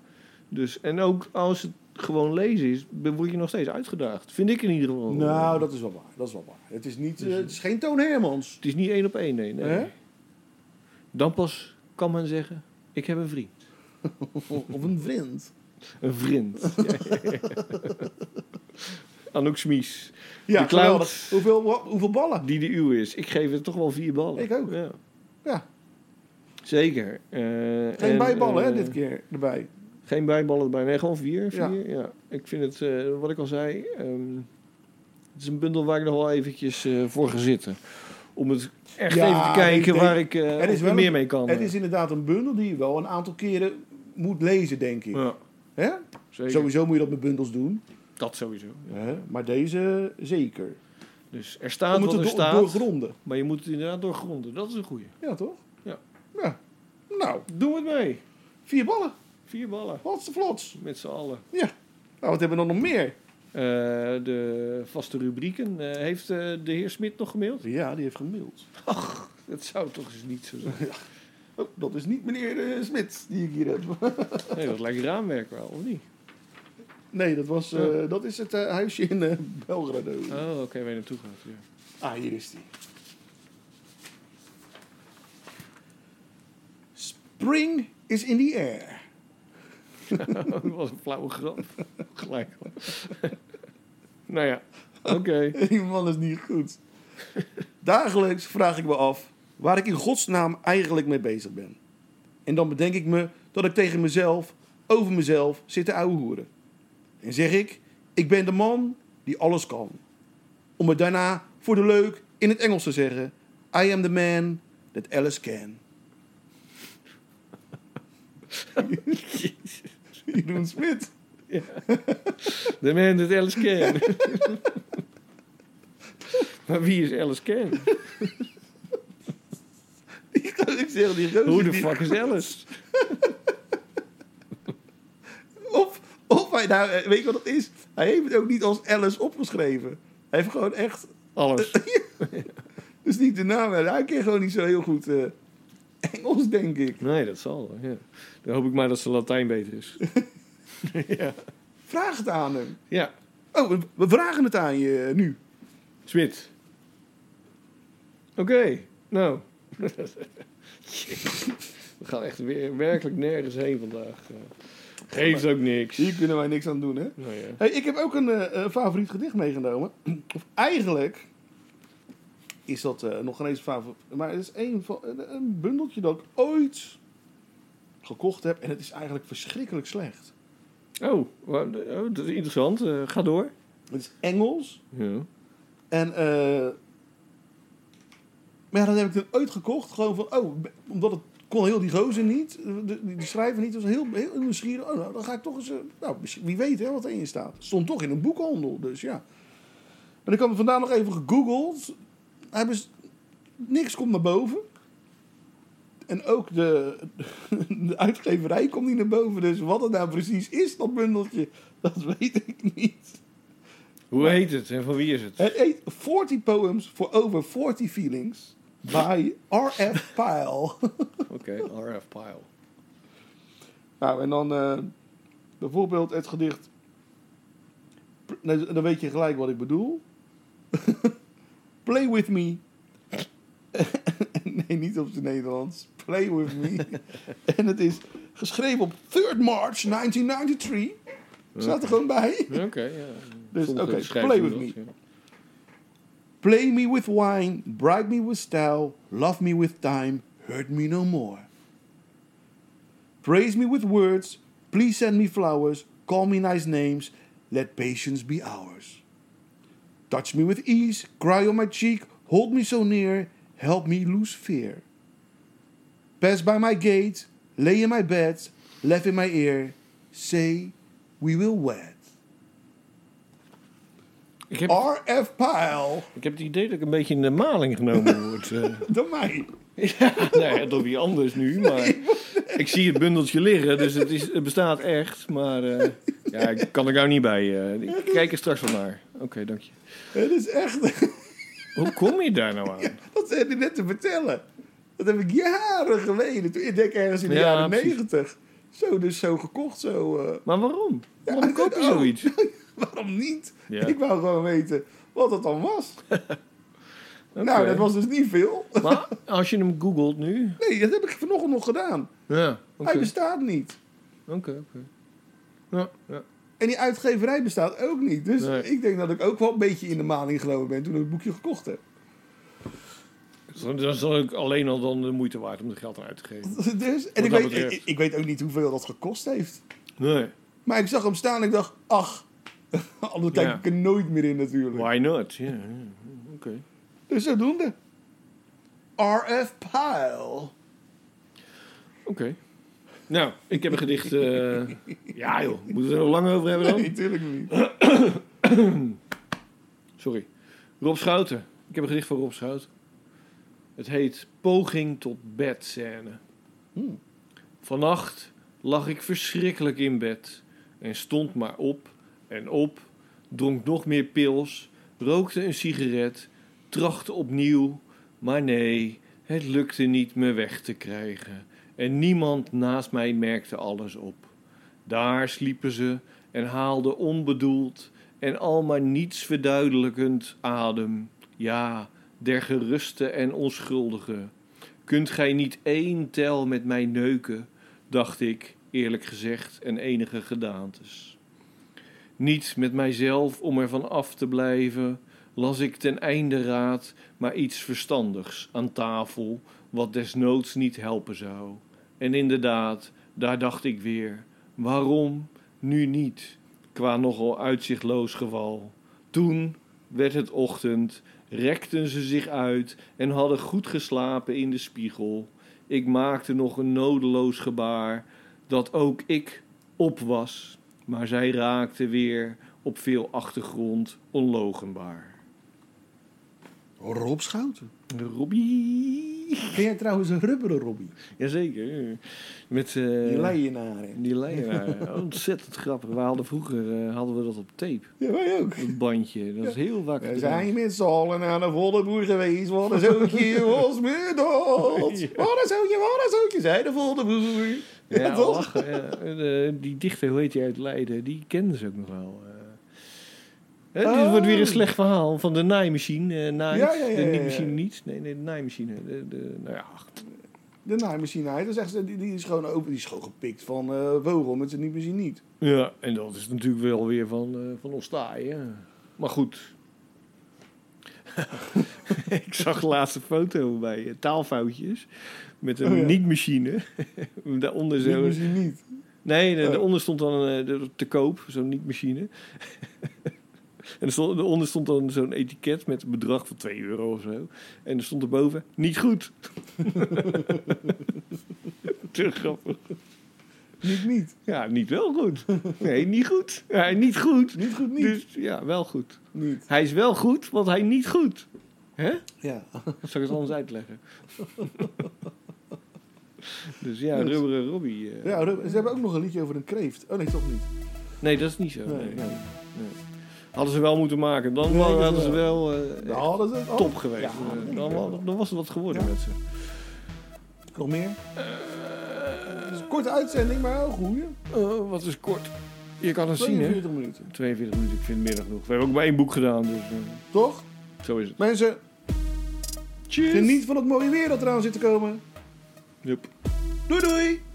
F: Dus, en ook als het gewoon lezen is, dan word je nog steeds uitgedaagd. Vind ik in ieder geval.
G: Nou, dat is wel waar. Dat is wel waar. Het is, niet, eh, het is geen Toon Hermans.
F: Het is niet één op één, nee. nee.
G: Hè?
F: Dan pas kan men zeggen, ik heb een vriend.
G: Of een vriend.
F: Een vriend. Anouk Smies,
G: Ja,
F: De clown.
G: geweldig. Hoeveel, wa- hoeveel ballen?
F: die de uw is. Ik geef het toch wel vier ballen.
G: Ik ook.
F: Ja.
G: Ja.
F: Zeker. Eh,
G: Geen
F: en,
G: bijballen, hè,
F: eh,
G: dit keer erbij.
F: Geen bijballen erbij. Nee, gewoon vier.
G: Ja.
F: vier ja. Ik vind het, eh, wat ik al zei, ehm, het is een bundel waar ik nog wel eventjes eh, voor ga zitten. Om het echt
G: Ja,
F: even te kijken
G: ik denk-
F: waar ik eh,
G: er is
F: of
G: wel
F: er meer
G: een-
F: mee kan.
G: Het is inderdaad een bundel die je wel een aantal keren moet lezen, denk ik.
F: ja,
G: Hè?
F: zeker.
G: Sowieso moet je dat met bundels doen.
F: Dat sowieso. ja.
G: Hè? Maar deze zeker.
F: Dus er
G: We
F: staat wat
G: moeten
F: er
G: do-
F: staat.
G: doorgronden.
F: Maar je moet het inderdaad doorgronden. Dat is een goeie.
G: Ja, toch?
F: Ja.
G: Ja. Nou,
F: Doe het mee.
G: vier ballen.
F: Vier ballen.
G: Wat is de vlots?
F: Met z'n allen.
G: Ja. Nou, wat hebben we dan nog meer?
F: Eh, de vaste rubrieken. Eh, heeft eh, de heer Smit nog gemaild?
G: Ja, die heeft gemaild.
F: Dat zou toch eens niet zo zijn.
G: Oh, dat is niet meneer eh, Smit die ik hier heb.
F: Nee, dat lijkt raamwerk wel, of niet?
G: nee, dat, was, eh, dat is het eh, huisje in eh, Belgrado.
F: Oh, oké, waar je naartoe gaat. Ja.
G: Ah, hier is die. Spring is in the air.
F: dat was een flauwe grap. Gelijk. al. nou ja, oké.
G: Die man is niet goed. Dagelijks vraag ik me af waar ik in godsnaam eigenlijk mee bezig ben. En dan bedenk ik me dat ik tegen mezelf, over mezelf, zit te ouwehoeren. En zeg ik, ik ben de man die alles kan. Om het daarna voor de leuk in het Engels te zeggen. I am the man that Alice can. Jeroen Smit.
F: De man dat Alice Ken. maar wie is Alice Ken?
G: ik zeg die gozer
F: Hoe de
G: die-
F: fuck is Alice?
G: Of, of hij nou, eh, weet je wat het is? Hij heeft het ook niet als Alice opgeschreven. Hij heeft gewoon echt,
F: Alles.
G: dus niet de naam, maar hij kan gewoon niet zo heel goed eh, Engels, denk ik.
F: Nee, dat zal wel, ja. Dan hoop ik maar dat ze Latijn beter is. ja.
G: Vraag het aan hem.
F: ja.
G: Oh, we, we vragen het aan je eh, nu.
F: Smit. Oké, nou. We gaan echt weer werkelijk nergens heen vandaag. eh. Geeft ook niks.
G: Hier kunnen wij niks aan doen, hè?
F: Nou ja.
G: Hey, ik heb ook een eh, eh, favoriet gedicht meegenomen. Of eigenlijk is dat eh, nog geen eens favoriet. Maar het is een, van, een- een bundeltje dat ik ooit gekocht heb. En het is eigenlijk verschrikkelijk slecht.
F: Oh, wa- oh, dat is interessant. Eh, ga door.
G: Het is Engels.
F: Ja.
G: En eh maar ja, dan heb ik het ooit gekocht. Gewoon van, oh, be- omdat het kon heel die gozer niet. de- de- Die, schrijver niet. was heel, heel nieuwsgierig. Oh, nou, dan ga ik toch eens... eh, nou, misschien- wie weet hè, wat erin staat. Het stond toch in een boekhandel, dus ja. En ik had hem vandaag nog even gegoogeld. Hij bes- niks komt naar boven. En ook de, de uitgeverij komt niet naar boven. Dus wat het nou precies is, dat bundeltje, dat weet ik niet.
F: Hoe heet het en van wie is het?
G: Het heet 40 Poems for Over 40 Feelings by R.F. Pyle.
F: Oké, R.F. Pyle.
G: nou, en dan eh, bijvoorbeeld het gedicht... Nee, Dan weet je gelijk wat ik bedoel. Play with me. nee, niet op het Nederlands. Play with me. en het is geschreven op 3 March 1993. Staat er gewoon bij.
F: Oké, ja.
G: Dus,
F: Sommige
G: oké,
F: schrijven
G: play
F: doen
G: with
F: dat, ja.
G: Play me with wine, bribe me with style, love me with time, hurt me no more. Praise me with words, please send me flowers, call me nice names, let patience be ours. Touch me with ease, cry on my cheek, hold me so near, help me lose fear. Pass by my gate, lay in my bed, laugh in my ear, say, we will wed.
F: Ik heb,
G: R.F. Pyle,
F: ik heb het idee dat ik een beetje in de maling genomen word. eh.
G: dan mij.
F: ja, nou ja, door wie anders nu, maar... Ik zie het bundeltje liggen, dus het, is, het bestaat echt, maar... eh, ja, ik kan er nou niet bij. eh. ik kijk er straks wel naar. Oké, dank je.
G: Het is echt...
F: Hoe kom je daar nou aan?
G: Dat zei hij net te vertellen. Dat heb ik jaren geleden. Toen, ik denk ergens in de
F: Ja,
G: jaren
F: precies.
G: negentig. Zo dus zo gekocht. Zo, eh,
F: Maar waarom? Waarom koop je
G: oh.
F: zoiets?
G: waarom niet?
F: Ja.
G: Ik wou gewoon weten wat dat dan was. Nou, dat was dus niet veel.
F: Maar als je hem googelt nu...
G: Nee, dat heb ik vanochtend nog gedaan.
F: Ja, oké.
G: Hij
F: Oké,
G: bestaat niet.
F: oké. Ja, ja.
G: En die uitgeverij bestaat ook niet. Dus
F: Nee.
G: ik denk dat ik ook wel een beetje in de maling gelopen ben toen ik het boekje gekocht heb.
F: Dan dan is het ook alleen al dan de moeite waard om er geld aan uit te geven.
G: Dus,
F: dat
G: en ik weet,
F: betreft.
G: ik, ik weet ook niet hoeveel dat gekost heeft.
F: Nee.
G: Maar ik zag hem staan en ik dacht, ach, anders kijk
F: Ja.
G: ik er nooit meer in natuurlijk.
F: Why not? Ja, ja. oké.
G: Dus zodoende. R.F. Pyle.
F: Oké. Nou, ik heb een gedicht. eh, ja, joh. Moeten we er nog lang over hebben dan?
G: Nee, tuurlijk niet.
F: Sorry. Rob Schouten. Ik heb een gedicht van Rob Schouten. Het heet Poging tot bedscène. Vannacht lag ik verschrikkelijk in bed en stond maar op en op, dronk nog meer pils, rookte een sigaret, trachtte opnieuw, maar nee, Het lukte niet me weg te krijgen en niemand naast mij merkte alles op. Daar sliepen ze en haalden onbedoeld en al maar niets verduidelijkend adem. Ja, der geruste en onschuldige. Kunt gij niet één tel met mij neuken, dacht ik, eerlijk gezegd, en enige gedaantes. Niet met mijzelf om ervan af te blijven, las ik ten einde raad maar iets verstandigs aan tafel, wat desnoods niet helpen zou. En inderdaad, daar dacht ik weer, waarom nu niet, qua nogal uitzichtloos geval. Toen werd het ochtend, rekten ze zich uit en hadden goed geslapen in de spiegel. Ik maakte nog een nodeloos gebaar, dat ook ik op was, maar zij raakte weer op veel achtergrond onlogenbaar.
E: Rob Schouten.
F: Robbie.
E: Ken jij trouwens een rubberen Robbie?
F: Jazeker. Met eh,
E: Die leienaren.
F: die leier. Ontzettend grappig. We hadden vroeger eh, hadden we dat op tape.
G: Ja, wij ook.
F: Een bandje. Dat is heel wakker.
G: We zijn met z'n allen aan de volle boer geweest. Wat een zootje was me dat. Wat een zootje, wat een zootje, zei de volle boer. Ja,
F: Ja,
G: toch?
F: lachen. ja. En, eh, die dichter, hoe heet die uit Leiden? Die kenden ze ook nog wel. eh. Hè, Dit
G: Oh.
F: wordt weer een slecht verhaal van de naaimachine. eh, naait.
G: Ja, ja, ja,
F: de
G: ja, ja.
F: niet-machine niet. Nee, nee, de naaimachine. De, de, nou ja, ach,
G: De naaimachine, hij dat is echt, die, die, is gewoon open, die is gewoon gepikt van eh Vogel met zijn niet niet.
F: Ja, en dat is natuurlijk wel weer van, eh van ons taai, hè. Maar goed. ik zag de laatste foto bij eh, taalfoutjes. Met een
G: Oh ja.
F: niet-machine. Daaronder
G: Niet
F: zo.
G: misschien niet.
F: Nee, nee,
G: Oh.
F: daaronder stond dan eh, de- te koop, zo'n niet-machine. en er stond, daaronder stond dan zo'n etiket met een bedrag van 2 euro of zo. En er stond erboven, niet goed. Te grappig.
G: Niet niet.
F: Ja, niet wel goed. Nee, niet goed. Ja, niet goed.
G: Niet goed niet.
F: Dus ja, wel goed.
G: Niet.
F: Hij is wel goed, want hij niet goed. Hè?
G: Ja.
F: Zal ik het anders uitleggen? dus ja,
G: Goed.
F: rubberen Robbie. eh.
G: ja, Ruben, ze hebben ook nog een liedje over een kreeft. Oh nee, toch niet.
F: Nee, dat is niet zo.
G: Nee,
F: nee.
G: nee.
F: Nee. Hadden ze wel moeten maken. Dan
G: Nee, dat
F: hadden
G: is
F: ze wel eh,
G: Ja, hadden ze het Oh. al?
F: top geweest.
G: Ja,
F: Eh,
G: denk
F: dan,
G: ik
F: wa-
G: wel.
F: dan was er wat geworden
G: Ja.
F: met ze.
G: Nog meer? Het is een korte uitzending, maar wel goed.
F: Eh, wat is kort. Je kan het zien, hè?
G: 42 minuten.
F: 42 minuten, ik vind het meer dan genoeg. We hebben ook maar één boek gedaan, dus eh,
G: Toch?
F: zo is het.
G: Mensen,
F: Cheers!
G: geniet van het mooie weer dat eraan zit te komen.
F: Yep.
G: Doei doei!